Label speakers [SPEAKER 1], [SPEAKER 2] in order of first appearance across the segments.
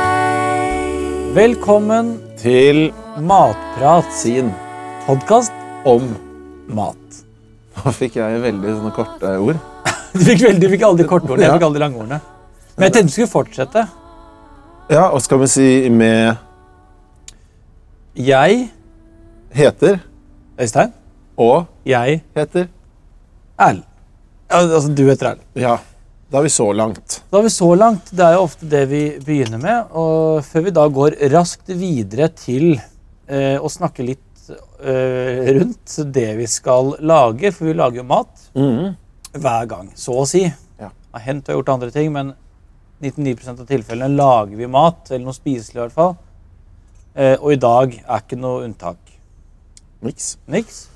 [SPEAKER 1] Øystein.
[SPEAKER 2] Velkommen
[SPEAKER 3] til
[SPEAKER 2] Matprat,
[SPEAKER 3] sin
[SPEAKER 2] podkast
[SPEAKER 3] om.
[SPEAKER 2] mat.
[SPEAKER 3] Da fikk jeg veldig sånne korte ord.
[SPEAKER 2] Du fikk veldig, du fikk alle de kortordene, jeg
[SPEAKER 3] Ja.
[SPEAKER 2] fikk alle de langordene. Men jeg tenkte vi skulle fortsette.
[SPEAKER 3] Ja, og skal vi si med
[SPEAKER 2] Jeg,
[SPEAKER 3] heter
[SPEAKER 2] Øystein,
[SPEAKER 3] og
[SPEAKER 2] jeg,
[SPEAKER 3] heter.
[SPEAKER 2] Erlend. Ja, Altså, du heter Erlend.
[SPEAKER 3] Ja, da er vi så langt.
[SPEAKER 2] Da er vi så langt. Det er jo ofte det vi begynner med. Og før vi da går raskt videre til eh, å snakke litt eh, rundt det vi skal lage, for vi lager jo mat hver gang, så å si.
[SPEAKER 3] Ja.
[SPEAKER 2] Det har hendt vi har gjort andre ting, men 99 av tilfellene lager vi mat, eller noe spiselig i hvert fall. Eh, og i dag er ikke noe unntak.
[SPEAKER 3] Niks.
[SPEAKER 2] Niks.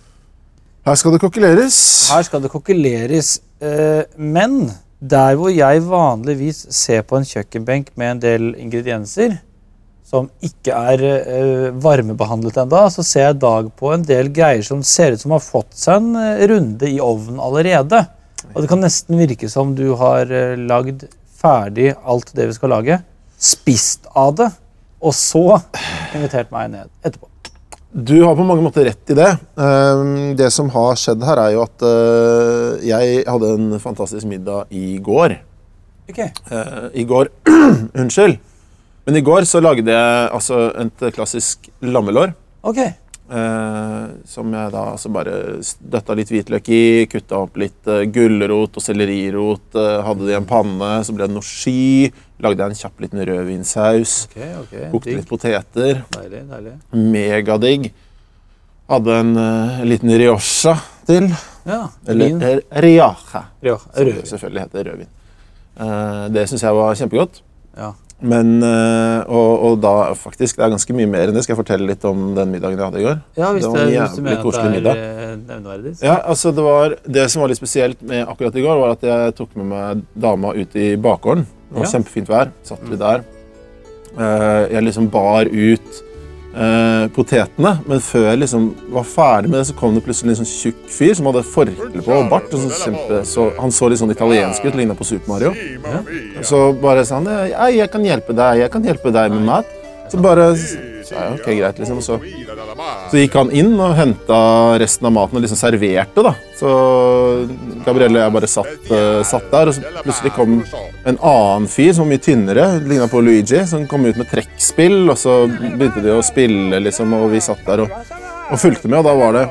[SPEAKER 3] Her skal det kokkeleres.
[SPEAKER 2] Her skal det kokkeleres. eh, Men der hvor jeg vanligvis ser på en kjøkkenbenk med en del ingredienser som ikke er eh, varmebehandlet enda, så ser jeg i dag på en del greier som ser ut som har fått seg en eh, runde i ovnen allerede. Og det kan nesten virke som du har eh, lagd ferdig alt det vi skal lage, spist av det, og så invitert meg ned etterpå.
[SPEAKER 3] Du har på mange måter rett i det. Ehm, Det som har skjedd her, er jo at eh, jeg hadde en fantastisk middag i går.
[SPEAKER 2] Ok.
[SPEAKER 3] Eh, I går Unnskyld. Men i går så lagde jeg altså et klassisk lammelår.
[SPEAKER 2] Ok.
[SPEAKER 3] Eh, som jeg da altså bare døtta litt hvitløk i, kutta opp litt eh, gulrot og sellerirot. Eh, hadde det i en panne, så ble det noe sky. Lagde jeg en kjapp liten rødvinsaus. Kokte litt poteter.
[SPEAKER 2] Deilig, deilig.
[SPEAKER 3] Megadigg. Hadde en eh, liten rioja til.
[SPEAKER 2] Ja,
[SPEAKER 3] Eller
[SPEAKER 2] vin.
[SPEAKER 3] eh, rioja,
[SPEAKER 2] Rød.
[SPEAKER 3] som
[SPEAKER 2] Rød.
[SPEAKER 3] det selvfølgelig heter rødvin. Eh, det syns jeg var kjempegodt.
[SPEAKER 2] Ja.
[SPEAKER 3] Men, eh, og, og da faktisk, det er ganske mye mer enn det. Skal jeg fortelle litt om den middagen jeg hadde i går?
[SPEAKER 2] Ja, hvis, det
[SPEAKER 3] Det var en
[SPEAKER 2] hvis du
[SPEAKER 3] jævlig
[SPEAKER 2] mener
[SPEAKER 3] koselig
[SPEAKER 2] at det
[SPEAKER 3] middag.
[SPEAKER 2] er eh, nevneverdig. så-
[SPEAKER 3] Ja, altså det, var, det som var litt spesielt med akkurat i går, var at jeg tok med meg dama ut i bakgården. Det var
[SPEAKER 2] Ja.
[SPEAKER 3] kjempefint vær. Satt vi der. Eh, Jeg liksom bar ut eh, potetene, men før jeg liksom var ferdig med det, så kom det plutselig en sånn tjukk fyr som hadde forkle på og bart. Og sånn kjempe, så, han så litt sånn italiensk ut, ligna på Super Mario. Så bare sa han «Ei, 'Jeg kan hjelpe deg, jeg kan hjelpe deg med mat'. Så bare sa jeg OK, greit, liksom. Så så gikk han inn og henta resten av maten og liksom serverte. da. Så Gabrielle og jeg bare satt, eh, satt der, og så plutselig kom en annen fyr som var mye tynnere, ligna på Luigi, som kom ut med trekkspill, og så begynte de å spille, liksom, og vi satt der og, og fulgte med, og da var det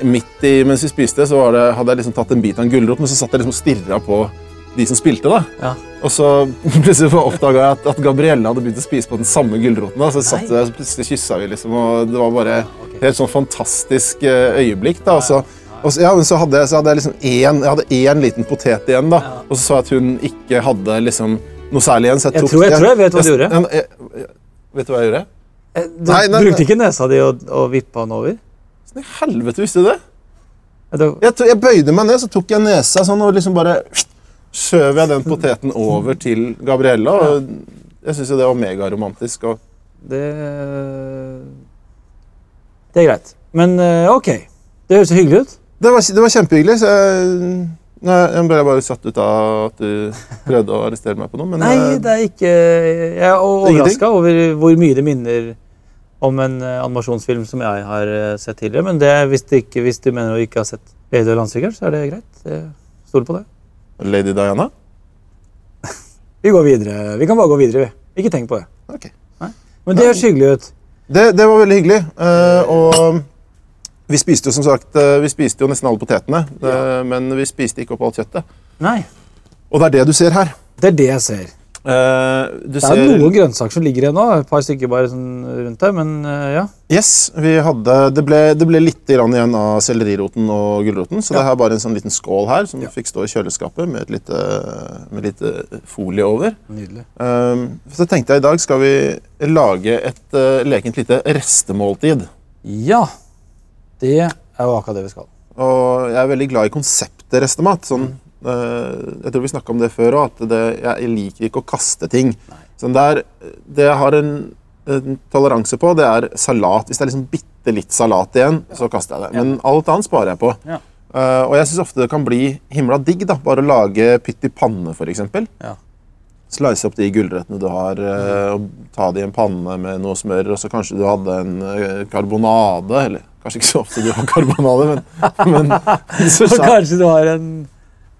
[SPEAKER 3] eh, Midt i mens vi spiste, så var det, hadde jeg liksom tatt en bit av en gulrot, men så satt jeg liksom og stirra på de som spilte, da.
[SPEAKER 2] Ja.
[SPEAKER 3] Og så plutselig oppdaga jeg at, at Gabrielle hadde begynt å spise på den samme gulroten. Da. Så satt jeg, så plutselig kyssa vi, liksom, og det var bare helt sånn fantastisk eh, øyeblikk. Da. Og så, og så, ja, men så hadde jeg, så hadde jeg liksom én, jeg hadde én liten potet igjen, da. og så så jeg at hun ikke hadde liksom, noe særlig igjen. Så jeg
[SPEAKER 2] Jeg
[SPEAKER 3] tok,
[SPEAKER 2] tror- jeg tror jeg vet hva du
[SPEAKER 3] jeg-
[SPEAKER 2] gjorde.
[SPEAKER 3] jeg- jeg- eh, Vet du hva jeg gjorde?
[SPEAKER 2] Eh, Du
[SPEAKER 3] Nei, nei,
[SPEAKER 2] brukte ikke nesa di og, og vippa den over?
[SPEAKER 3] Hvordan Sånn, i helvete visste du det?
[SPEAKER 2] Ja, det-
[SPEAKER 3] Jeg, to- jeg bøyde meg ned, så tok jeg nesa sånn, og liksom bare skjøv jeg den poteten over til Gabriella. Og jeg syns jo det var megaromantisk. og
[SPEAKER 2] Det, det er greit. Men eh, OK. Det høres jo hyggelig ut.
[SPEAKER 3] Det var, det var kjempehyggelig. Så jeg, nei, jeg ble bare satt ut av at du prøvde å arrestere meg på noe. Men
[SPEAKER 2] Nei,
[SPEAKER 3] eh,
[SPEAKER 2] det er ikke Jeg er
[SPEAKER 3] ingenting?
[SPEAKER 2] overraska over hvor mye det minner om en eh, animasjonsfilm som jeg har eh, sett tidligere. Men det, hvis, du ikke, hvis du mener du ikke har sett Lady og landstrykeren, så er det greit. Jeg stoler på det.
[SPEAKER 3] Lady Diana?
[SPEAKER 2] Vi går videre. Vi kan bare gå videre, vi. Ikke tenk på det.
[SPEAKER 3] Ok.
[SPEAKER 2] Men det høres hyggelig ut.
[SPEAKER 3] Det, det var veldig hyggelig. eh, og vi spiste jo som sagt, eh, vi spiste jo nesten alle potetene, eh, men vi spiste ikke opp alt kjøttet.
[SPEAKER 2] Nei.
[SPEAKER 3] Og det er det du ser her.
[SPEAKER 2] Det er det jeg ser.
[SPEAKER 3] Eh,
[SPEAKER 2] Det
[SPEAKER 3] du
[SPEAKER 2] er noen grønnsaker som ligger igjen nå. Et par stykker bare sånn rundt der, men eh, ja.
[SPEAKER 3] Yes, vi hadde, det, ble, det ble litt grann igjen av selleriroten og gulroten. Så
[SPEAKER 2] Ja.
[SPEAKER 3] det her er bare en sånn liten skål her som
[SPEAKER 2] Ja.
[SPEAKER 3] fikk stå i kjøleskapet med et lite, med lite folie over.
[SPEAKER 2] Nydelig.
[SPEAKER 3] Um, så tenkte jeg i dag skal vi lage et eh, lekent lite restemåltid.
[SPEAKER 2] Ja. Det er jo akkurat det vi skal.
[SPEAKER 3] Og jeg er veldig glad i konseptet restemat. Sånn, eh, jeg tror vi snakka om det før òg, at det, jeg liker ikke å kaste ting. Sånn der, det jeg har en, en toleranse på, det er salat. Hvis det er liksom bitte litt salat igjen, så kaster jeg det. Men alt annet sparer jeg på.
[SPEAKER 2] Ja.
[SPEAKER 3] Eh, og jeg syns ofte det kan bli himla digg da, bare å lage pytt i panne, f.eks.
[SPEAKER 2] Ja.
[SPEAKER 3] Slice opp de gulrøttene du har, eh, og ta det i en panne med noe smør. Og så kanskje du hadde en eh, karbonade, eller kanskje ikke så ofte du har karbonade, men, men så
[SPEAKER 2] Så
[SPEAKER 3] sa-
[SPEAKER 2] kanskje du har en,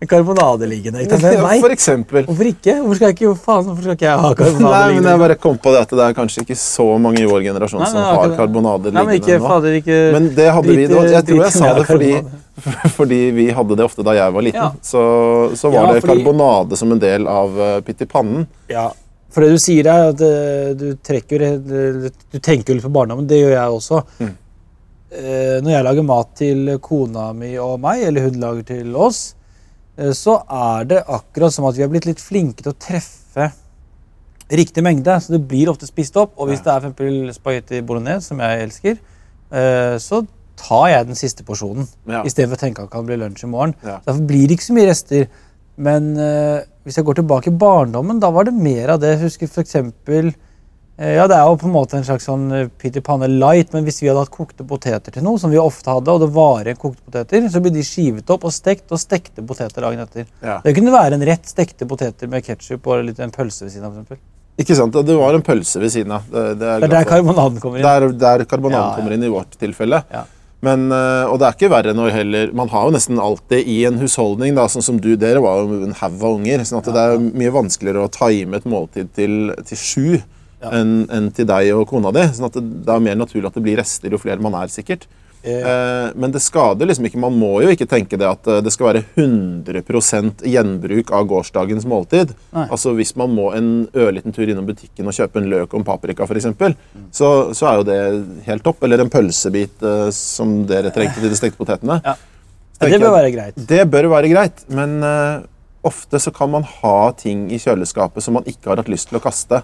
[SPEAKER 2] en karbonade liggende. Ikke? sant? Hvem
[SPEAKER 3] Ja,
[SPEAKER 2] vet?
[SPEAKER 3] For eksempel.
[SPEAKER 2] Hvorfor ikke? Hvorfor skal jeg ikke, faen, hvorfor skal ikke jeg ha karbonade
[SPEAKER 3] Nei, men
[SPEAKER 2] liggende?
[SPEAKER 3] jeg bare kom på det at det er kanskje ikke så mange i vår generasjon
[SPEAKER 2] Nei, men
[SPEAKER 3] som
[SPEAKER 2] det er
[SPEAKER 3] har
[SPEAKER 2] ikke det.
[SPEAKER 3] karbonader
[SPEAKER 2] Nei, men ikke,
[SPEAKER 3] liggende nå.
[SPEAKER 2] fader, ikke
[SPEAKER 3] Men det hadde vi
[SPEAKER 2] drit-
[SPEAKER 3] det var- Jeg tror
[SPEAKER 2] drit-
[SPEAKER 3] jeg sa
[SPEAKER 2] ja,
[SPEAKER 3] det fordi,
[SPEAKER 2] karbonade.
[SPEAKER 3] fordi vi hadde det ofte da jeg var liten.
[SPEAKER 2] Ja.
[SPEAKER 3] Så, så
[SPEAKER 2] Ja,
[SPEAKER 3] var det
[SPEAKER 2] fordi-
[SPEAKER 3] karbonade som en del av eh, pytt i pannen.
[SPEAKER 2] Ja, for det du sier er at eh, du trekker eh, Du tenker jo litt på barndommen, det gjør jeg også. Eh, Når jeg lager mat til kona mi og meg, eller hun lager til oss, eh, så er det akkurat som at vi har blitt litt flinke til å treffe riktig mengde. Så det blir ofte spist opp. Og hvis det er for eksempel spagetti bolognese, som jeg elsker, eh, så tar jeg den siste porsjonen.
[SPEAKER 3] Ja.
[SPEAKER 2] I stedet for å tenke at det kan bli lunsj i morgen.
[SPEAKER 3] Ja.
[SPEAKER 2] Derfor blir det ikke så mye rester. Men eh, hvis jeg går tilbake i barndommen, da var det mer av det. Jeg husker for eksempel, eh, ja, det er jo på en måte en slags sånn eh, Peter Panne light, men hvis vi hadde hatt kokte poteter til noe, som vi ofte hadde, og det var igjen kokte poteter, så ble de skivet opp og stekt, og stekte poteter dagen etter.
[SPEAKER 3] Ja.
[SPEAKER 2] Det kunne være en rett stekte poteter med ketsjup og litt en pølse ved siden av. for eksempel.
[SPEAKER 3] Ikke sant? Det var en pølse ved siden av. Det, det er
[SPEAKER 2] Det er
[SPEAKER 3] jeg glad
[SPEAKER 2] der
[SPEAKER 3] for.
[SPEAKER 2] karbonaden kommer inn.
[SPEAKER 3] der, der karbonaden
[SPEAKER 2] Ja, ja.
[SPEAKER 3] kommer inn i vårt tilfelle.
[SPEAKER 2] Ja.
[SPEAKER 3] Men, eh, og det er ikke verre når heller Man har jo nesten alltid i en husholdning, da, sånn som du, dere var jo en haug av unger, sånn at det er mye vanskeligere å time et måltid til, til sju enn enn til deg og kona di. sånn at det, det er mer naturlig at det blir rester jo flere man er, sikkert. Eh, Men det skader liksom ikke. Man må jo ikke tenke det at eh, det skal være 100 gjenbruk av gårsdagens måltid.
[SPEAKER 2] Nei.
[SPEAKER 3] Altså Hvis man må en ørliten tur innom butikken og kjøpe en løk og en paprika, for eksempel,
[SPEAKER 2] Mm.
[SPEAKER 3] så, så er jo det helt topp. Eller en pølsebit eh, som dere trengte til de stekte potetene.
[SPEAKER 2] Ja.
[SPEAKER 3] Så
[SPEAKER 2] Ja,
[SPEAKER 3] tenker
[SPEAKER 2] det bør
[SPEAKER 3] jeg-
[SPEAKER 2] være greit.
[SPEAKER 3] det bør være greit, men eh, ofte så kan man ha ting i kjøleskapet som man ikke har hatt lyst til å kaste.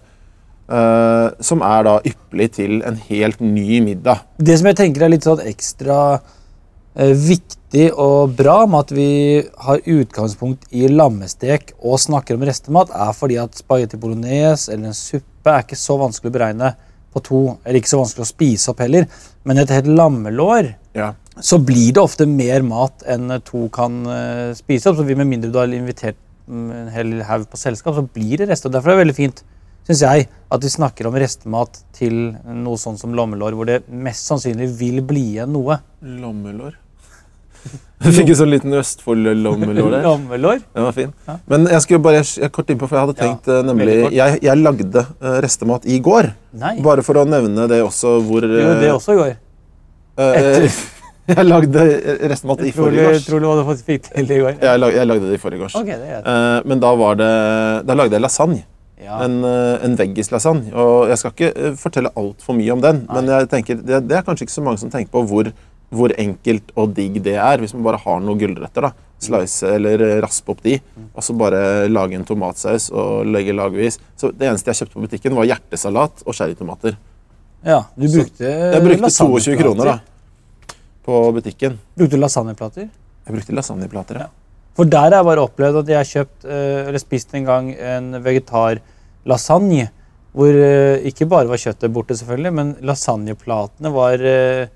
[SPEAKER 3] eh, som er da ypperlig til en helt ny middag.
[SPEAKER 2] Det som jeg tenker er litt sånn ekstra eh, viktig og bra med at vi har utgangspunkt i lammestek og snakker om restemat, er fordi at spagetti bolognese eller en suppe er ikke så vanskelig å beregne på to, eller ikke så vanskelig å spise opp heller. Men et helt lammelår
[SPEAKER 3] Ja.
[SPEAKER 2] så blir det ofte mer mat enn to kan eh, spise opp. Så vi med mindre du har invitert mm, en hel haug på selskap, så blir det rester. Derfor er det veldig fint, synes jeg, at vi snakker om restemat til noe sånn som lommelår, hvor det mest sannsynlig vil bli igjen noe.
[SPEAKER 3] Lommelår. Jeg fikk en sånn liten Østfold-lommelår der.
[SPEAKER 2] Lommelår?
[SPEAKER 3] Den var fin. Men jeg skulle bare jeg er kort innpå, for jeg hadde
[SPEAKER 2] Ja,
[SPEAKER 3] tenkt eh, nemlig
[SPEAKER 2] veldig kort.
[SPEAKER 3] jeg, jeg lagde eh, restemat i går.
[SPEAKER 2] Nei. Du
[SPEAKER 3] Bare for å nevne det også hvor
[SPEAKER 2] gjorde det også i går.
[SPEAKER 3] eh, Jeg lagde eh, restemat i
[SPEAKER 2] Tror du,
[SPEAKER 3] forgårs.
[SPEAKER 2] tror du hva du faktisk fikk til i går?
[SPEAKER 3] Jeg, lag, jeg lagde det i forgårs.
[SPEAKER 2] Ok, det er greit.
[SPEAKER 3] Eh, men da var det Da lagde jeg lasagne.
[SPEAKER 2] Ja.
[SPEAKER 3] En, eh, en veggislasagne. Og jeg skal ikke eh, fortelle altfor mye om den, men jeg tenker, det, det er kanskje ikke så mange som tenker på hvor, hvor enkelt og digg det er hvis man bare har noen gulrøtter. da. Slice eller eh, raspe opp de, og så bare lage en tomatsaus og legge lagvis. Så Det eneste jeg kjøpte på butikken, var hjertesalat og cherrytomater.
[SPEAKER 2] ja, du brukte
[SPEAKER 3] Jeg brukte
[SPEAKER 2] lasagneplater.
[SPEAKER 3] 22 kroner da, på butikken.
[SPEAKER 2] Brukte du lasagneplater?
[SPEAKER 3] Jeg brukte lasagneplater. Ja.
[SPEAKER 2] For der har jeg bare opplevd at jeg har kjøpt, eh, eller spist en gang en vegetarlasagne. Hvor eh, ikke bare var kjøttet borte, selvfølgelig, men lasagneplatene var eh,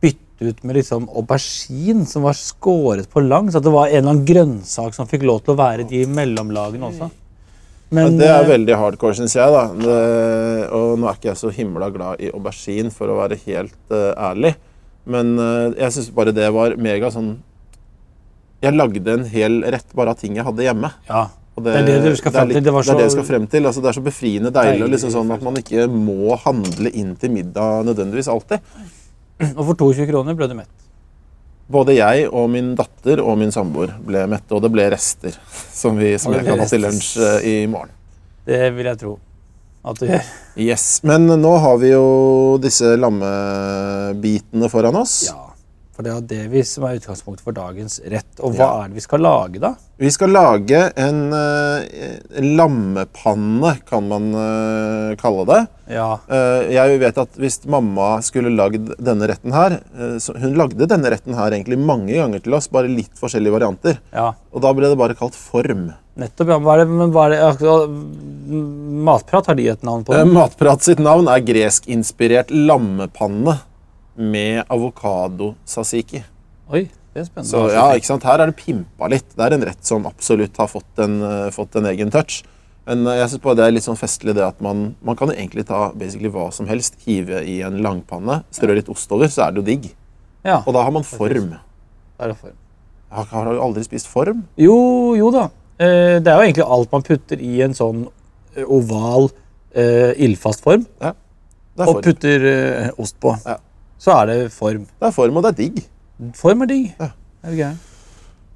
[SPEAKER 2] byttet ut med liksom aubergine som var skåret på langs. At det var en eller annen grønnsak som fikk lov til å være i de mellomlagene også. Men,
[SPEAKER 3] det er
[SPEAKER 2] eh,
[SPEAKER 3] veldig hardcore, syns jeg. da. Det, og nå er ikke jeg så himla glad i aubergine, for å være helt eh, ærlig. Men eh, jeg syns bare det var mega sånn Jeg lagde en hel rett bare av ting jeg hadde hjemme.
[SPEAKER 2] ja.
[SPEAKER 3] Og
[SPEAKER 2] Det er det du skal
[SPEAKER 3] det er
[SPEAKER 2] frem til.
[SPEAKER 3] litt-
[SPEAKER 2] Det var
[SPEAKER 3] er
[SPEAKER 2] så-
[SPEAKER 3] det jeg skal frem til. Altså, det er så befriende deilig, og liksom
[SPEAKER 2] Deilig
[SPEAKER 3] sånn at man ikke må handle inn til middag nødvendigvis alltid.
[SPEAKER 2] Og for 22 kroner ble du mett.
[SPEAKER 3] Både jeg og min datter og min samboer ble mette, og det ble rester som, vi, som
[SPEAKER 2] Og det
[SPEAKER 3] jeg
[SPEAKER 2] ble
[SPEAKER 3] kan ha til lunsj
[SPEAKER 2] rester.
[SPEAKER 3] eh, i morgen.
[SPEAKER 2] Det vil jeg tro at du gjør.
[SPEAKER 3] Yes, Men nå har vi jo disse lammebitene foran oss.
[SPEAKER 2] Ja. For det er det vi som er utgangspunktet for dagens rett. Og hva
[SPEAKER 3] Ja.
[SPEAKER 2] er det vi skal lage, da?
[SPEAKER 3] Vi skal lage en eh, lammepanne, kan man eh, kalle det.
[SPEAKER 2] Ja.
[SPEAKER 3] Eh, jeg vet at Hvis mamma skulle lagd denne retten her eh, så Hun lagde denne retten her egentlig mange ganger til oss, bare litt forskjellige varianter.
[SPEAKER 2] ja.
[SPEAKER 3] Og da ble det bare kalt form.
[SPEAKER 2] Nettopp, ja. Men Hva er det, men hva er det altså, m- Matprat har de et navn på?
[SPEAKER 3] Eh,
[SPEAKER 2] det.
[SPEAKER 3] Matprat sitt navn er greskinspirert lammepanne med avokado-sasiki.
[SPEAKER 2] Oi, det er spennende.
[SPEAKER 3] Så ja, ikke sant? Her er det pimpa litt. Det er en rett som absolutt har fått en, eh, fått en egen touch. Men eh, jeg synes bare det er litt sånn festlig det at man, man kan jo egentlig ta basically hva som helst, hive i en langpanne, strø litt ost over, så er det jo digg.
[SPEAKER 2] Ja,
[SPEAKER 3] Og da har man form.
[SPEAKER 2] da er det form.
[SPEAKER 3] Jeg har, har du aldri spist form?
[SPEAKER 2] Jo, jo da. Eh, Det er jo egentlig alt man putter i en sånn eh, oval, eh, ildfast form,
[SPEAKER 3] Det er
[SPEAKER 2] og
[SPEAKER 3] form.
[SPEAKER 2] putter eh, ost på.
[SPEAKER 3] Ja.
[SPEAKER 2] Så er det form.
[SPEAKER 3] Det er form, og det er digg.
[SPEAKER 2] Form er digg.
[SPEAKER 3] Ja.
[SPEAKER 2] Er du gæren?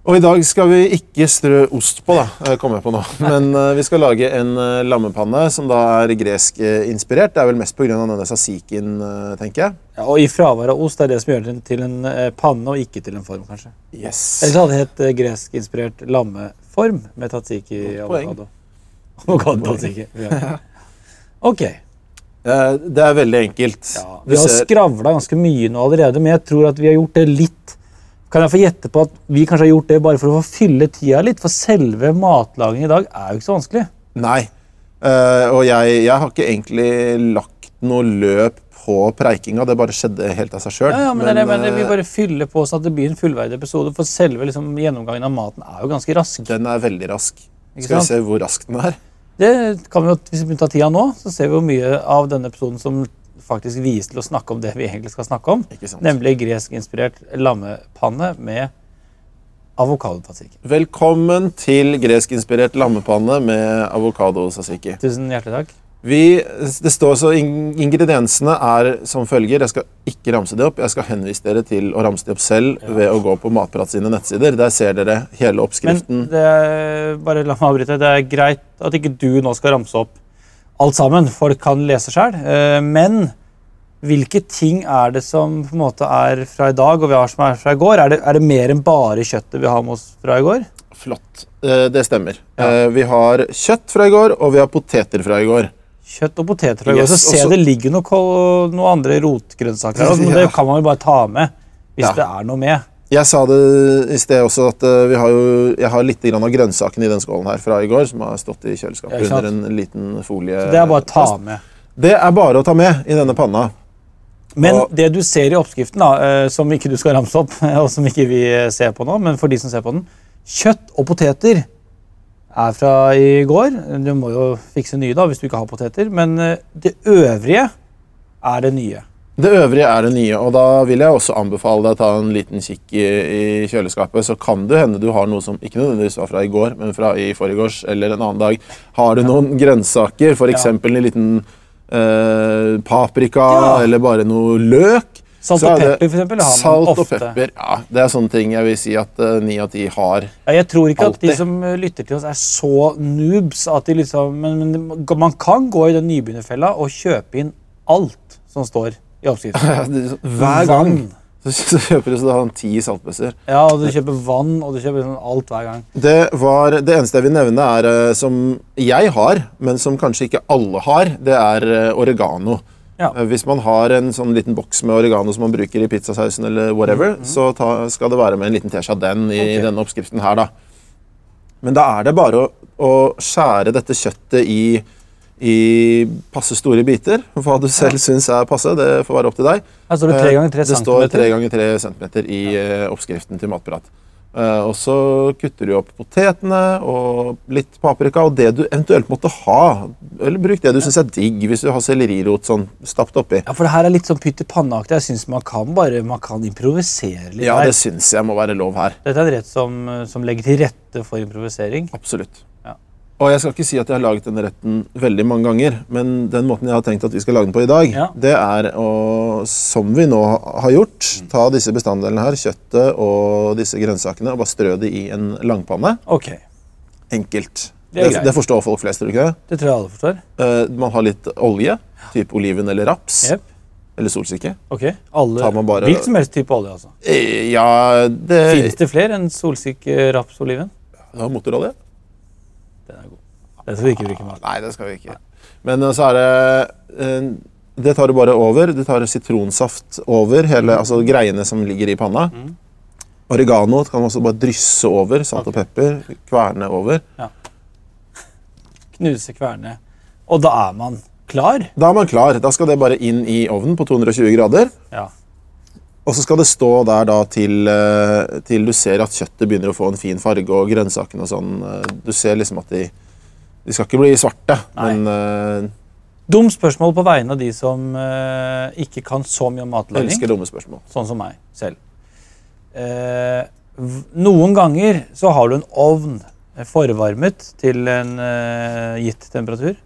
[SPEAKER 3] Og i dag skal vi ikke strø ost på, da, eh, kom jeg på nå. Men eh, vi skal lage en eh, lammepanne som da er gresk-inspirert. Det er vel mest pga. denne sasikin, eh, tenker jeg.
[SPEAKER 2] Ja, og i fravær av ost det er det som gjør den til en eh, panne, og ikke til en form, kanskje.
[SPEAKER 3] Yes.
[SPEAKER 2] Ellers hadde det hett eh, greskinspirert lammeform med tatsiki i
[SPEAKER 3] Godt poeng.
[SPEAKER 2] avokado. Avokado-tatsiki. Ja. Ok.
[SPEAKER 3] Eh, Det er veldig enkelt.
[SPEAKER 2] Ja,
[SPEAKER 3] Du
[SPEAKER 2] vi har
[SPEAKER 3] ser-
[SPEAKER 2] skravla ganske mye nå allerede, men jeg tror at vi har gjort det litt Kan jeg få gjette på at vi kanskje har gjort det bare for å få fylle tida litt? For selve matlagingen i dag er jo ikke så vanskelig.
[SPEAKER 3] Nei. Eh, og jeg, jeg har ikke egentlig lagt noe løp på preikinga. Det bare skjedde helt av seg sjøl.
[SPEAKER 2] Ja, ja, men, eh, det er det jeg mener, Vi bare fyller på sånn at det blir en fullverdig episode, for selve liksom, gjennomgangen av maten er jo ganske rask.
[SPEAKER 3] eh, den er veldig rask.
[SPEAKER 2] Ikke
[SPEAKER 3] Skal vi
[SPEAKER 2] sant?
[SPEAKER 3] se hvor rask den er?
[SPEAKER 2] Det kan vi jo, Hvis vi tar tida nå, så ser vi hvor mye av denne episoden som faktisk vies til å snakke om det vi egentlig skal snakke om,
[SPEAKER 3] Ikke sant?
[SPEAKER 2] nemlig greskinspirert lammepanne med avokadopatikk.
[SPEAKER 3] Velkommen til greskinspirert lammepanne med avokado-sasiki.
[SPEAKER 2] Tusen hjertelig takk.
[SPEAKER 3] Vi, det står så in- Ingrediensene er som følger. Jeg skal ikke ramse det opp. Jeg skal henvise dere til å ramse det opp selv ved å gå på Matprat sine nettsider. Der ser dere hele
[SPEAKER 2] Men
[SPEAKER 3] oppskriften.
[SPEAKER 2] det er, bare la meg avbryte. Det er greit at ikke du nå skal ramse opp alt sammen. Folk kan lese sjøl. Men hvilke ting er det som på en måte er fra i dag, og vi har som er fra i går? Er det, er det mer enn bare kjøttet vi har med oss fra i går?
[SPEAKER 3] Flott. Eh, Det stemmer.
[SPEAKER 2] Ja.
[SPEAKER 3] Eh, Vi har kjøtt fra i går, og vi har poteter fra i går.
[SPEAKER 2] Kjøtt og poteter fra i
[SPEAKER 3] Yes,
[SPEAKER 2] går. Så
[SPEAKER 3] og
[SPEAKER 2] se
[SPEAKER 3] så-
[SPEAKER 2] det ligger noe, kål- noe andre rotgrønnsaker her. også, Men det
[SPEAKER 3] Ja.
[SPEAKER 2] kan man jo bare ta med hvis
[SPEAKER 3] Ja.
[SPEAKER 2] det er noe med.
[SPEAKER 3] Jeg sa det i sted også at eh, vi har jo, jeg har litt grann av grønnsakene i den skålen her fra i går, som har stått i
[SPEAKER 2] Ja,
[SPEAKER 3] kjøleskapet
[SPEAKER 2] ikke sant?
[SPEAKER 3] under en liten folie.
[SPEAKER 2] Så det er bare å ta med.
[SPEAKER 3] Det er bare å ta med i denne panna.
[SPEAKER 2] Men
[SPEAKER 3] Og-
[SPEAKER 2] det du ser i oppskriften, da, eh, som ikke du skal ramse opp, og som ikke vi eh, ser på nå, men for de som ser på den Kjøtt og poteter er fra i går. Du må jo fikse nye da, hvis du ikke har poteter. Men eh, det øvrige er det nye.
[SPEAKER 3] Det øvrige er det nye, og da vil jeg også anbefale deg å ta en liten kikk i, i kjøleskapet. Så kan det hende du har noe som ikke nødvendigvis var fra i går, men fra i forgårs eller en annen dag. Har du noen grønnsaker, f.eks. en liten eh, paprika
[SPEAKER 2] Ja.
[SPEAKER 3] eller bare noe løk?
[SPEAKER 2] Salt
[SPEAKER 3] så
[SPEAKER 2] og
[SPEAKER 3] er det-
[SPEAKER 2] pepper, for eksempel, har man
[SPEAKER 3] Salt og
[SPEAKER 2] ofte.
[SPEAKER 3] pepper, ja. Det er sånne ting jeg vil si at eh, ni av ti har.
[SPEAKER 2] Ja, jeg tror ikke at de
[SPEAKER 3] Alltid.
[SPEAKER 2] som eh, lytter til oss, er så noobs at de liksom Men, men det- man kan gå i den nybegynnerfella og kjøpe inn alt som står i oppskriften.
[SPEAKER 3] Hver gang
[SPEAKER 2] Vann.
[SPEAKER 3] så, så kjøper du sånn ti saltbøsser.
[SPEAKER 2] Ja, og du kjøper vann, og du kjøper liksom alt hver gang.
[SPEAKER 3] Det, var, det eneste jeg vil nevne, er, eh, som jeg har, men som kanskje ikke alle har, det er eh, oregano.
[SPEAKER 2] Ja.
[SPEAKER 3] Eh, Hvis man har en sånn liten boks med oregano som man bruker i pizzasausen, eller whatever, så ta, skal det være med en liten teskje av den i
[SPEAKER 2] Ok.
[SPEAKER 3] denne oppskriften her. da. Men da er det bare å, å skjære dette kjøttet i, i passe store biter. Hva du selv syns er passe, det får være opp til deg.
[SPEAKER 2] Her står det tre ganger tre
[SPEAKER 3] eh, Det står
[SPEAKER 2] centimeter.
[SPEAKER 3] 3 ganger 3 cm i eh, oppskriften til matprat. Eh, Og så kutter du opp potetene og litt paprika og det du eventuelt måtte ha. Eller bruk det du syns er digg, hvis du har sellerirot sånn stappet oppi.
[SPEAKER 2] Ja, for det her er litt sånn pytt i panneaktig. Jeg syns man kan bare man kan improvisere litt.
[SPEAKER 3] Ja,
[SPEAKER 2] her.
[SPEAKER 3] det syns jeg må være lov her.
[SPEAKER 2] Dette er en rett som, som legger til rette for improvisering.
[SPEAKER 3] Absolutt.
[SPEAKER 2] Ja.
[SPEAKER 3] Og jeg skal ikke si at jeg har laget denne retten veldig mange ganger, men den måten jeg har tenkt at vi skal lage den på i dag,
[SPEAKER 2] Ja.
[SPEAKER 3] det er å, som vi nå har gjort,
[SPEAKER 2] Mm.
[SPEAKER 3] ta disse bestanddelene her, kjøttet og disse grønnsakene, og bare strø det i en langpanne.
[SPEAKER 2] Ok,
[SPEAKER 3] enkelt.
[SPEAKER 2] Det er
[SPEAKER 3] Det,
[SPEAKER 2] greit.
[SPEAKER 3] det forstår folk flest, tror du ikke det?
[SPEAKER 2] Det tror jeg alle forstår.
[SPEAKER 3] Eh, man har litt olje, typ oliven eller raps,
[SPEAKER 2] Jep.
[SPEAKER 3] eller solsikke.
[SPEAKER 2] Ok, alle,
[SPEAKER 3] Tar man bare-
[SPEAKER 2] Hvilken som helst type olje, altså.
[SPEAKER 3] Eh, ja,
[SPEAKER 2] Fins
[SPEAKER 3] det
[SPEAKER 2] det flere enn eh, solsikke, raps, oliven?
[SPEAKER 3] ja, Motorolje?
[SPEAKER 2] Den er god. Det skal vi ikke bruke mer.
[SPEAKER 3] Nei, det skal vi ikke. Men eh, så er det eh, Det tar du bare over. Du tar sitronsaft over hele
[SPEAKER 2] Mm.
[SPEAKER 3] altså, greiene som ligger i panna. Oregano kan man også bare drysse over. Salt og pepper. Kverne over.
[SPEAKER 2] Knuse, kverne. Og da er man klar.
[SPEAKER 3] Da er man klar. Da skal det bare inn i ovnen på 220 grader.
[SPEAKER 2] Ja.
[SPEAKER 3] Og så skal det stå der da til, eh, til du ser at kjøttet begynner å få en fin farge og grønnsakene og sånn. eh, Du ser liksom at de De skal ikke bli svarte,
[SPEAKER 2] Nei.
[SPEAKER 3] men eh,
[SPEAKER 2] Dumt spørsmål på vegne av de som eh, ikke kan så mye om
[SPEAKER 3] jeg
[SPEAKER 2] matlaging.
[SPEAKER 3] elsker dumme spørsmål.
[SPEAKER 2] Sånn som meg selv. Eh, v- noen ganger så har du en ovn eh, forvarmet til en eh, gitt temperatur.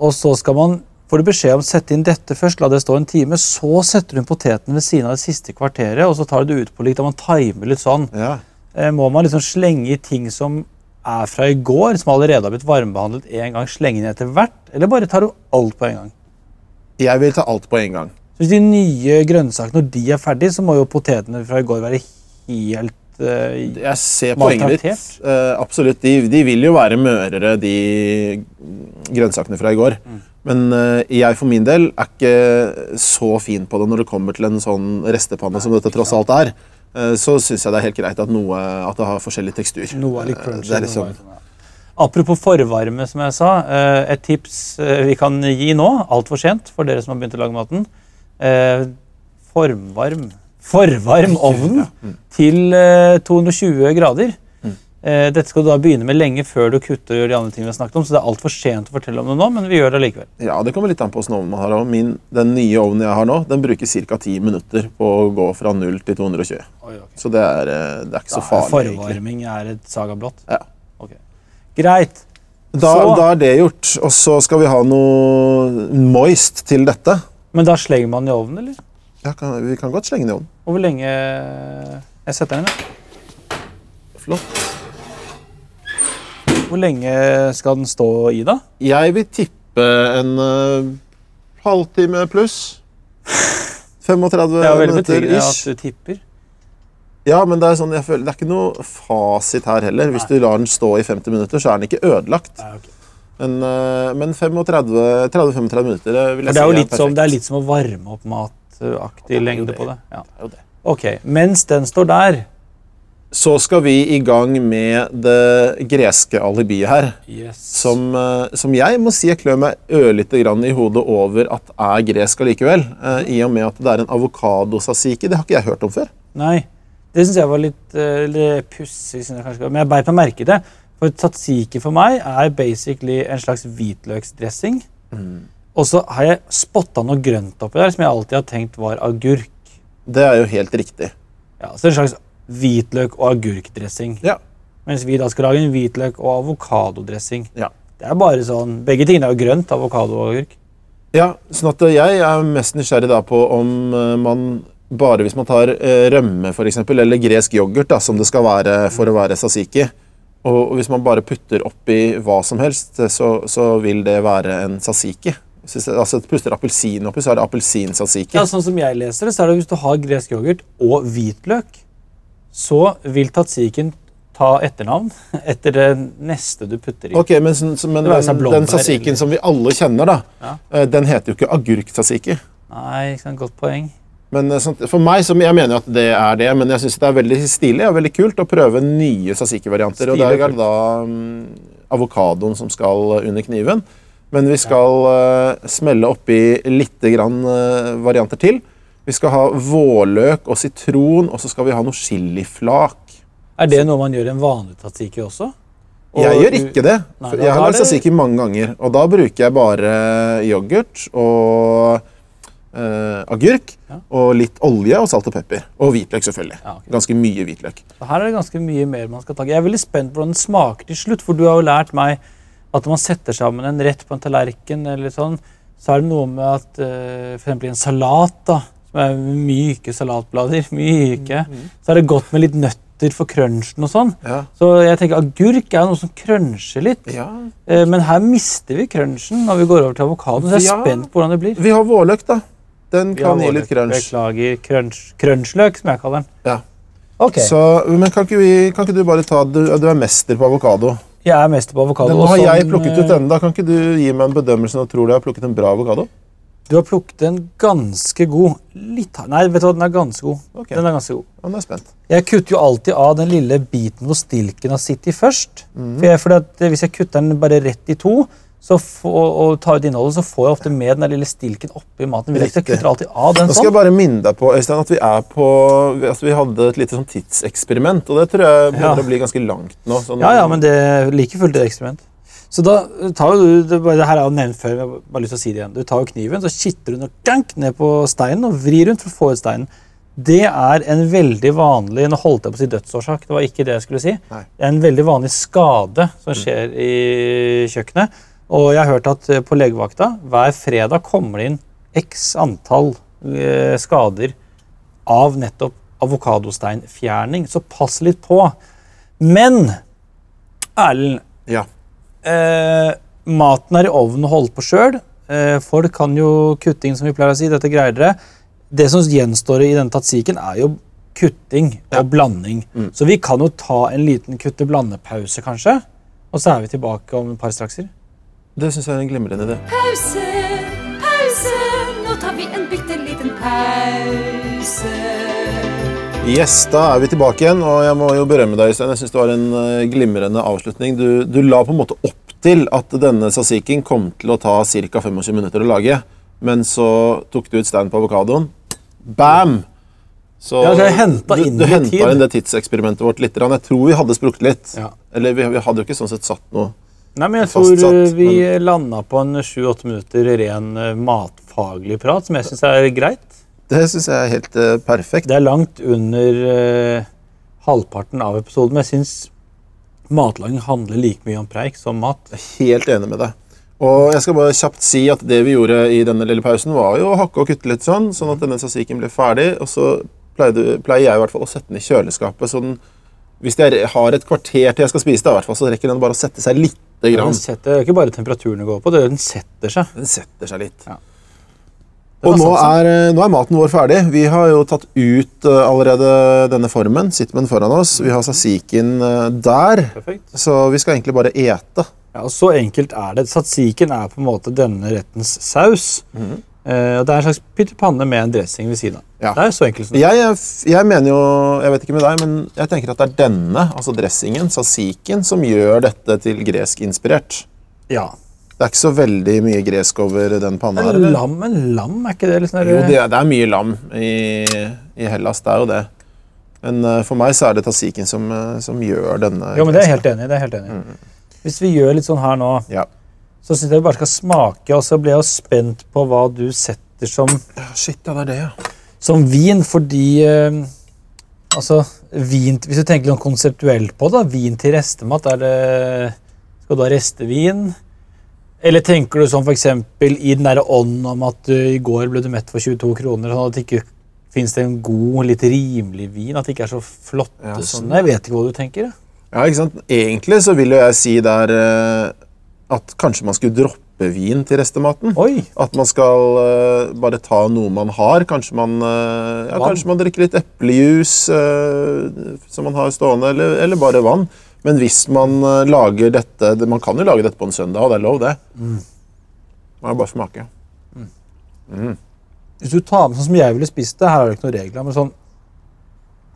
[SPEAKER 2] Og så skal man, får du beskjed om å sette inn dette først, la det stå en time. Så setter du inn potetene ved siden av det siste kvarteret, og så tar du det ut på likt. og Man timer litt sånn.
[SPEAKER 3] Ja.
[SPEAKER 2] Eh, må man liksom slenge i ting som er fra i går, som allerede har blitt varmebehandlet én gang, slenge inn etter hvert? Eller bare tar du alt på en gang?
[SPEAKER 3] Jeg vil ta alt på en gang.
[SPEAKER 2] Så hvis de nye grønnsakene, når de er ferdige, så må jo potetene fra i går være helt eh,
[SPEAKER 3] Jeg ser poenget
[SPEAKER 2] Maltraktert?
[SPEAKER 3] ditt. Eh, absolutt. De, de vil jo være mørere, de grønnsakene fra i går.
[SPEAKER 2] Mm.
[SPEAKER 3] Men eh, jeg for min del er ikke så fin på det når det kommer til en sånn restepanne som dette tross alt er. Eh, så syns jeg det er helt greit at, noe, at det har forskjellig tekstur.
[SPEAKER 2] Noe er litt
[SPEAKER 3] Eh,
[SPEAKER 2] crunchy.
[SPEAKER 3] det er
[SPEAKER 2] noe
[SPEAKER 3] liksom,
[SPEAKER 2] er sånn, ja. Apropos forvarme, som jeg sa. eh, et tips eh, vi kan gi nå, altfor sent for dere som har begynt å lage maten. Eh, formvarm Forvarm ovnen til eh, 220 grader.
[SPEAKER 3] Mm.
[SPEAKER 2] Eh, dette skal du da begynne med lenge før du kutter og gjør de andre tingene vi har snakket om, så det er altfor sent å fortelle om det nå, men vi gjør det allikevel.
[SPEAKER 3] ja, det kommer litt an på åssen ovn man har. og Min, den nye ovnen jeg har nå, den bruker ca. 10 minutter på å gå fra 0 til 220. Så det er, eh, det er ikke så farlig. egentlig.
[SPEAKER 2] Forvarming er et saga blått?
[SPEAKER 3] Ja.
[SPEAKER 2] Ok. Greit.
[SPEAKER 3] Da,
[SPEAKER 2] Så-
[SPEAKER 3] da er det gjort. Og så skal vi ha noe moist til dette.
[SPEAKER 2] Men da slenger man i ovnen, eller?
[SPEAKER 3] Ja, kan, Vi kan godt slenge den i ovnen.
[SPEAKER 2] Og hvor lenge eh, Jeg setter den, jeg.
[SPEAKER 3] Flott.
[SPEAKER 2] Hvor lenge skal den stå i, da?
[SPEAKER 3] Jeg vil tippe en ø, halvtime pluss. 35
[SPEAKER 2] Det er jo veldig
[SPEAKER 3] minutter
[SPEAKER 2] betryggende at
[SPEAKER 3] ish.
[SPEAKER 2] du tipper.
[SPEAKER 3] Ja, men det er, sånn, jeg føler, det er ikke noe fasit her heller. Hvis du lar den stå i 50 minutter, så er den ikke ødelagt. Men, ø, men 30-35 minutter det
[SPEAKER 2] For
[SPEAKER 3] vil jeg
[SPEAKER 2] det er jo
[SPEAKER 3] si
[SPEAKER 2] litt som, det er litt som å varme opp mataktig
[SPEAKER 3] jo
[SPEAKER 2] lengde
[SPEAKER 3] det.
[SPEAKER 2] på det. Ja.
[SPEAKER 3] jo det.
[SPEAKER 2] Ok, Mens den står der
[SPEAKER 3] Så skal vi i gang med det greske alibiet her. som, eh, som jeg må si jeg klør meg ørlite grann i hodet over at er gresk allikevel. eh, I og med at det er en avokadosasiki. Det har ikke jeg hørt om før.
[SPEAKER 2] Nei. Det syns jeg var litt uh, pussig, synes jeg kanskje ikke var, men jeg beit meg merke i det. For tatsiki for meg er basically en slags hvitløksdressing.
[SPEAKER 3] Mm.
[SPEAKER 2] Og så har jeg spotta noe grønt oppi der som jeg alltid har tenkt var agurk.
[SPEAKER 3] Det er jo helt riktig.
[SPEAKER 2] Ja, så en slags hvitløk- og agurkdressing.
[SPEAKER 3] Ja.
[SPEAKER 2] Mens vi da skal lage en hvitløk- og avokadodressing.
[SPEAKER 3] Ja.
[SPEAKER 2] Det er bare sånn, Begge tingene er jo grønt. Avokado og agurk.
[SPEAKER 3] ja sånn at eh, jeg er mest nysgjerrig da på om eh, man bare hvis man tar eh, rømme for eksempel, eller gresk yoghurt, da, som det skal være for å være sasiki, og og hvis man bare putter oppi hva som helst, eh, så, så vil det være en sasiki. Hvis det- Altså, Putter appelsin oppi, så er det appelsinsasiki.
[SPEAKER 2] Ja, sånn som jeg leser det, så er det Hvis du har gresk yoghurt og hvitløk, så vil tatsiken ta etternavn etter det neste du putter i.
[SPEAKER 3] Ok, men, sånn- så- men
[SPEAKER 2] Det være seg
[SPEAKER 3] den,
[SPEAKER 2] blåbær
[SPEAKER 3] den sasiken
[SPEAKER 2] eller-
[SPEAKER 3] som vi alle kjenner, da,
[SPEAKER 2] Ja.
[SPEAKER 3] eh, den heter jo ikke agurksasiki.
[SPEAKER 2] Nei, ikke sant, Godt poeng.
[SPEAKER 3] Men eh, sånt, for meg, som jeg mener jo at det er det, men jeg syns det er veldig stilig og veldig kult å prøve nye sasiki-varianter. Og
[SPEAKER 2] Stilig
[SPEAKER 3] der
[SPEAKER 2] og
[SPEAKER 3] er det da mm, avokadoen som skal eh, under kniven. Men vi skal eh, smelle oppi litt grann, eh, varianter til. Vi skal ha vårløk og sitron, og så skal vi ha noe chiliflak.
[SPEAKER 2] Er det noe man gjør i en vanlig tatsiki også? Og
[SPEAKER 3] Jeg gjør
[SPEAKER 2] u-
[SPEAKER 3] ikke det.
[SPEAKER 2] Nei,
[SPEAKER 3] For
[SPEAKER 2] da-
[SPEAKER 3] jeg har
[SPEAKER 2] da er
[SPEAKER 3] lagd
[SPEAKER 2] det-
[SPEAKER 3] tzatziki mange ganger, og da bruker jeg bare eh, yoghurt og eh, agurk
[SPEAKER 2] Ja.
[SPEAKER 3] og litt olje og salt og pepper. Og hvitløk, selvfølgelig.
[SPEAKER 2] Ja, ok.
[SPEAKER 3] Ganske mye hvitløk.
[SPEAKER 2] Så Her er det ganske mye mer man skal ta. Jeg er veldig spent på hvordan den smaker til slutt, for du har jo lært meg at når man setter sammen en rett på en tallerken, eller sånn, så er det noe med at eh, for eksempel i en salat, da, som er myke salatblader, myke, så er det godt med litt nøtter for crunchen og sånn.
[SPEAKER 3] Mm, Ja.
[SPEAKER 2] Så jeg tenker agurk er jo noe som cruncher litt, eh, men her mister vi crunchen når vi går over til avokadoen, så jeg er
[SPEAKER 3] Ja.
[SPEAKER 2] spent på hvordan det blir.
[SPEAKER 3] Vi har vårløk, da. Den
[SPEAKER 2] Vi har
[SPEAKER 3] kan gi
[SPEAKER 2] vårløk.
[SPEAKER 3] litt crunch.
[SPEAKER 2] Beklager, crunch, crunchløk, som jeg kaller den.
[SPEAKER 3] Ja.
[SPEAKER 2] Ok,
[SPEAKER 3] Så, men kan ikke, vi, kan ikke du bare ta Du, du er mester på avokado.
[SPEAKER 2] jeg er mest på avokado.
[SPEAKER 3] Den
[SPEAKER 2] og
[SPEAKER 3] har jeg
[SPEAKER 2] sånn,
[SPEAKER 3] plukket
[SPEAKER 2] eh,
[SPEAKER 3] ut denne. da. Kan ikke du gi meg en bedømmelse og tror du jeg har plukket en bra avokado?
[SPEAKER 2] Du har plukket en ganske god litt, hard- Nei, vet du hva, den er ganske god.
[SPEAKER 3] Ok.
[SPEAKER 2] Den er ganske god.
[SPEAKER 3] Ja, nå er jeg spent.
[SPEAKER 2] Jeg kutter jo alltid av den lille biten hvor stilken har sittet i først.
[SPEAKER 3] Mhm.
[SPEAKER 2] For jeg, fordi at eh, Hvis jeg kutter den bare rett i to så få, og tar ut innholdet, så får jeg ofte med den der lille stilken oppi maten. videre, Så jeg
[SPEAKER 3] Riktig.
[SPEAKER 2] kutter alltid av den
[SPEAKER 3] Nå skal jeg
[SPEAKER 2] sånn.
[SPEAKER 3] bare minne deg på Øystein, at vi er på at vi hadde et lite sånn tidseksperiment. Og det tror jeg begynner
[SPEAKER 2] Ja.
[SPEAKER 3] å bli ganske langt nå. sånn-
[SPEAKER 2] Ja, ja, men det er like fullt et eksperiment. Så da tar jo du det, bare- det her er jo nevnt før, men jeg har bare lyst til å si det igjen. Du tar jo kniven, så kitter du den og dank ned på steinen og vrir rundt for å få ut steinen. Det er en veldig vanlig Nå holdt jeg på å si dødsårsak, det var ikke det jeg skulle si.
[SPEAKER 3] Nei.
[SPEAKER 2] Det er en veldig vanlig skade som skjer i kjøkkenet. Og jeg har hørt at eh, på legevakta hver fredag kommer det inn x antall eh, skader av nettopp avokadosteinfjerning, så pass litt på. Men Erlend,
[SPEAKER 3] Ja.
[SPEAKER 2] eh, maten er i ovnen og holdt på sjøl. Eh, folk kan jo kutting, som vi pleier å si. Dette greier dere. Det som gjenstår i denne tatsiken, er jo kutting og blanding. Så vi kan jo ta en liten kutte-blande-pause, kanskje. Og så er vi tilbake om et par strakser.
[SPEAKER 3] Det syns jeg er en glimrende idé.
[SPEAKER 1] Pause, pause. Nå tar vi en bitte liten pause.
[SPEAKER 3] Yes, da er vi tilbake igjen, og jeg må jo berømme deg, Øystein. Jeg synes det var en eh, glimrende avslutning. Du, du la på en måte opp til at denne sasiken kom til å ta ca. 25 minutter å lage, men så tok du ut stein på avokadoen. Bam! Så
[SPEAKER 2] Ja, jeg hentet
[SPEAKER 3] du,
[SPEAKER 2] inn
[SPEAKER 3] du
[SPEAKER 2] litt
[SPEAKER 3] hentet
[SPEAKER 2] tid.
[SPEAKER 3] inn det tidseksperimentet vårt litt. grann. Jeg tror vi hadde sprukket litt.
[SPEAKER 2] Ja.
[SPEAKER 3] Eller vi, vi hadde jo ikke sånn sett satt noe.
[SPEAKER 2] Nei, men jeg
[SPEAKER 3] Fastsatt,
[SPEAKER 2] tror eh, vi landa på en sju-åtte minutter ren eh, matfaglig prat, som jeg syns er greit.
[SPEAKER 3] Det syns jeg er helt eh, perfekt.
[SPEAKER 2] Det er langt under eh, halvparten av episoden, men jeg syns matlaging handler like mye om preik som mat.
[SPEAKER 3] Helt enig med deg. Og jeg skal bare kjapt si at Det vi gjorde i denne lille pausen, var jo å hakke og kutte litt, sånn, sånn at denne sasiken ble ferdig. Og så pleide, pleier jeg i hvert fall å sette den i kjøleskapet. så den, Hvis jeg har et kvarter til jeg skal spise, det, i hvert fall, så rekker den bare å sette seg litt. Grann.
[SPEAKER 2] Den setter, det er ikke bare temperaturen det går på, det er den setter seg.
[SPEAKER 3] Den setter seg litt.
[SPEAKER 2] Ja.
[SPEAKER 3] Og
[SPEAKER 2] Den
[SPEAKER 3] nå
[SPEAKER 2] har satt
[SPEAKER 3] er, eh, nå er maten vår ferdig. Vi har jo tatt ut eh, allerede denne formen. Sitter med den foran oss. Vi har sasiken eh, der.
[SPEAKER 2] Perfekt.
[SPEAKER 3] Så vi skal egentlig bare ete.
[SPEAKER 2] Ja, og så enkelt er det. Satsiken er på en måte denne rettens saus. Eh, og det er en slags pytt i panne med en dressing ved siden av.
[SPEAKER 3] Mhm. Ja.
[SPEAKER 2] Det er så enkelt som det.
[SPEAKER 3] Jeg, jeg mener jo Jeg vet ikke med deg, men jeg tenker at det er denne, altså dressingen, sasiken, som gjør dette til greskinspirert.
[SPEAKER 2] Ja.
[SPEAKER 3] Det er ikke så veldig mye gresk over den panna her. eller?
[SPEAKER 2] Lam, men lam, er ikke det litt sånn
[SPEAKER 3] Jo, det er, det er mye lam i, i Hellas, det er jo det. Men eh, for meg så er det tasiken som, eh, som gjør denne
[SPEAKER 2] Jo, men det er jeg
[SPEAKER 3] gresken.
[SPEAKER 2] helt enig i. det er jeg helt enig. i.
[SPEAKER 3] Mhm.
[SPEAKER 2] Hvis vi gjør litt sånn her nå,
[SPEAKER 3] Ja.
[SPEAKER 2] så syns jeg vi bare skal smake, og så blir jeg jo spent på hva du setter som,
[SPEAKER 3] Ja, Shit, ja, det er det, ja.
[SPEAKER 2] som vin, fordi eh, Altså, vin Hvis du tenker litt konseptuelt på det, da, vin til restemat, er det Skal du ha restevin? Eller tenker du sånn f.eks. i den derre ånden om at eh, i går ble du mett for 22 kroner, sånn at det ikke fins det en god, litt rimelig vin? At det ikke er så flotte
[SPEAKER 3] Ja, sånn.
[SPEAKER 2] sånne? Jeg vet ikke hva du tenker. jeg.
[SPEAKER 3] Ja, ikke sant? Egentlig så vil jo jeg si der eh, at kanskje man skulle droppe vin til restematen.
[SPEAKER 2] Oi!
[SPEAKER 3] At man skal eh, bare ta noe man har. Kanskje man, eh, ja,
[SPEAKER 2] Vann.
[SPEAKER 3] kanskje man drikker litt eplejus eh, som man har stående, eller, eller bare vann. Men hvis man eh, lager dette det- Man kan jo lage dette på en søndag, og det er lov, det. Man må bare smake.
[SPEAKER 2] Hvis du tar med sånn som jeg ville spist det, her er det ikke noen regler, men sånn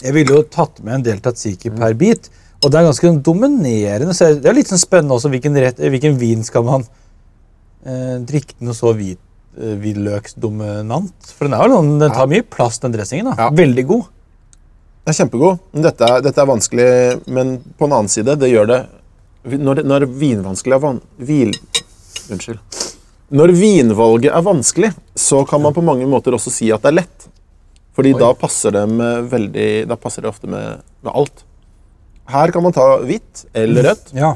[SPEAKER 2] Jeg ville jo tatt med en del tatsiki
[SPEAKER 3] Mm.
[SPEAKER 2] per bit, og det er ganske sånn dominerende. Så det er litt sånn spennende også hvilken, rett, eh, hvilken vin skal man eh, drikke den og så hvit, eh, hvitløksdominant. For den er jo sånn, den tar mye plass, den dressingen. da.
[SPEAKER 3] Ja.
[SPEAKER 2] Veldig god.
[SPEAKER 3] Den er kjempegod. men Dette er, dette er vanskelig, men på den annen side, det gjør det Når, det, når vinvanskelig er van... Hvil... Unnskyld. Når vinvalget er vanskelig, så kan man på mange måter også si at det er lett. Fordi da passer det med veldig Da passer det ofte med, med alt. Her kan man ta hvitt
[SPEAKER 2] Mm.
[SPEAKER 3] eller rødt.
[SPEAKER 2] Ja.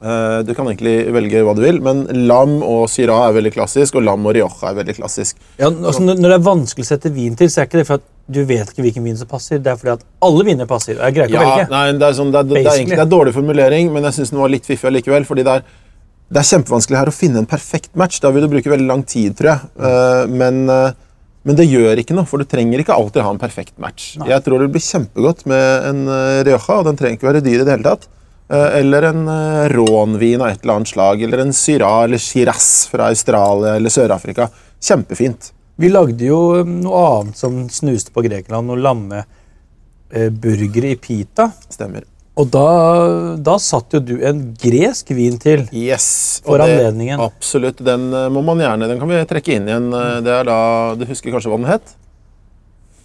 [SPEAKER 3] Eh, Du kan egentlig velge hva du vil, men lam og syra er veldig klassisk, og lam og rioja er veldig klassisk.
[SPEAKER 2] Ja, altså, når når det er vanskelig å sette vin til, så er ikke det fordi at du vet ikke hvilken vin som passer. Det er fordi at alle viner passer. og Jeg greier ikke å
[SPEAKER 3] Ja,
[SPEAKER 2] velge.
[SPEAKER 3] nei, det er, sånn, det, er, det, er
[SPEAKER 2] Basically.
[SPEAKER 3] egentlig, det er dårlig formulering, men jeg syns den var litt fiffig allikevel. fordi det er, det er kjempevanskelig her å finne en perfekt match. Da vil du bruke veldig lang tid, tror jeg.
[SPEAKER 2] Mm.
[SPEAKER 3] Eh, men, eh, men det gjør ikke noe, for du trenger ikke alltid ha en perfekt match. Jeg tror det blir kjempegodt med en eh, Rioja, og den trenger ikke være dyr i det hele tatt. Eh, eller en uh, rånvin av et eller annet slag, eller en Syrah eller Shiraz fra Australia eller Sør-Afrika. Kjempefint.
[SPEAKER 2] Vi lagde jo um, noe annet som snuste på Grekenland, noen lammeburgere i pita.
[SPEAKER 3] Stemmer.
[SPEAKER 2] Og da, da satt jo du en gresk vin til.
[SPEAKER 3] Yes.
[SPEAKER 2] For
[SPEAKER 3] og det-
[SPEAKER 2] anledningen.
[SPEAKER 3] Absolutt. Den eh, må man gjerne, den kan vi trekke inn igjen. eh, Det er da, Du husker kanskje hva den het?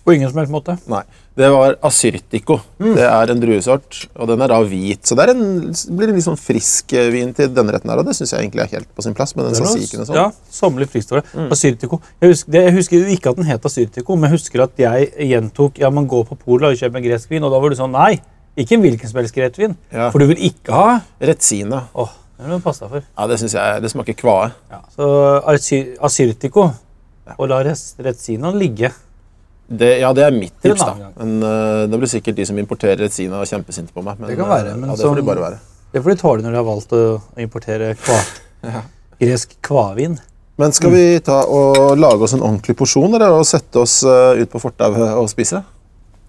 [SPEAKER 2] På ingen som helst måte.
[SPEAKER 3] Nei. Det var asyrtico.
[SPEAKER 2] Mm.
[SPEAKER 3] Det er en druesort, og den er da hvit. Så det er en, blir en litt sånn frisk eh, vin til denne retten her, og det syns jeg egentlig er helt på sin plass. med den tzatzikien og sånn. Mm.
[SPEAKER 2] Ja, sommerlig fristående. Asyrtiko. Jeg husker, det- jeg husker jo ikke at den het Asyrtiko, men jeg husker at jeg gjentok ja, man går på Pola og kjøper en gresk vin, og da var du sånn nei, ikke en hvilken som helst gresk vin,
[SPEAKER 3] Ja.
[SPEAKER 2] for du vil ikke ha
[SPEAKER 3] Retsina.
[SPEAKER 2] Åh, det må du passe deg for.
[SPEAKER 3] Ja, det syns jeg det smaker kvae.
[SPEAKER 2] Så Asyr- Asyrtiko og la res- Retsinaen ligge.
[SPEAKER 3] Det, ja, det er mitt
[SPEAKER 2] Til en
[SPEAKER 3] tips, da.
[SPEAKER 2] annen
[SPEAKER 3] Men eh, Det blir sikkert de som importerer Retsina, kjempesinte på meg. Men,
[SPEAKER 2] Det kan være,
[SPEAKER 3] eh,
[SPEAKER 2] men
[SPEAKER 3] ja, det får de
[SPEAKER 2] sånn-
[SPEAKER 3] bare være.
[SPEAKER 2] Det får de tåle når de har valgt å å importere kva, gresk kvavin.
[SPEAKER 3] Men skal vi ta og lage oss en ordentlig porsjon eller, og sette oss eh, ut på fortauet og spise?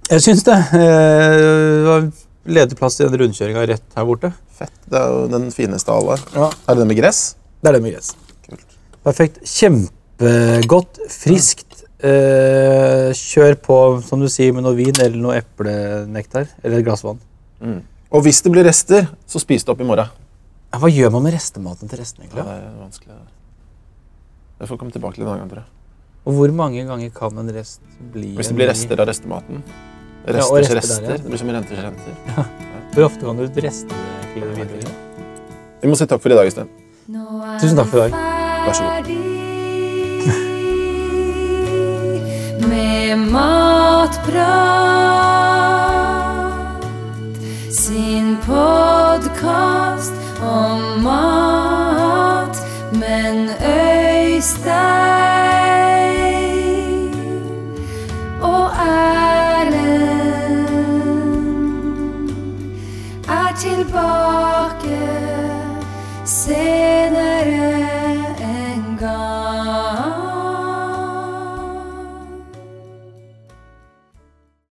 [SPEAKER 2] Jeg syns det. Eh, det var ledig plass i den rundkjøringa rett her borte.
[SPEAKER 3] Fett. Det er jo den fineste av alle.
[SPEAKER 2] Ja.
[SPEAKER 3] Er det den med gress?
[SPEAKER 2] Det er det med gress.
[SPEAKER 3] Kult.
[SPEAKER 2] Perfekt. Kjempegodt, friskt. Eh, kjør på, som du sier, med noe vin eller noe eplenektar. Eller et glass vann.
[SPEAKER 3] Og hvis det blir rester, så spis det opp i morgen.
[SPEAKER 2] Ja, hva gjør man med restematen til restene? egentlig?
[SPEAKER 3] Det er vanskelig. Jeg får komme tilbake til det en annen gang, tror jeg.
[SPEAKER 2] Og hvor mange ganger kan en rest bli?
[SPEAKER 3] Hvis
[SPEAKER 2] en
[SPEAKER 3] det blir
[SPEAKER 2] ny?
[SPEAKER 3] rester av restematen. Resters
[SPEAKER 2] Ja, og rester der,
[SPEAKER 3] rester.
[SPEAKER 2] ja.
[SPEAKER 3] Det blir som renters renter.
[SPEAKER 2] Hvor ofte kan du reste? egentlig, videre?
[SPEAKER 3] Vi må si takk for i dag, Øystein.
[SPEAKER 2] Tusen takk for i dag.
[SPEAKER 1] Vær
[SPEAKER 3] så god.
[SPEAKER 1] god. Med matprat sin podkast om mat, men Øystein og Erlend er tilbake.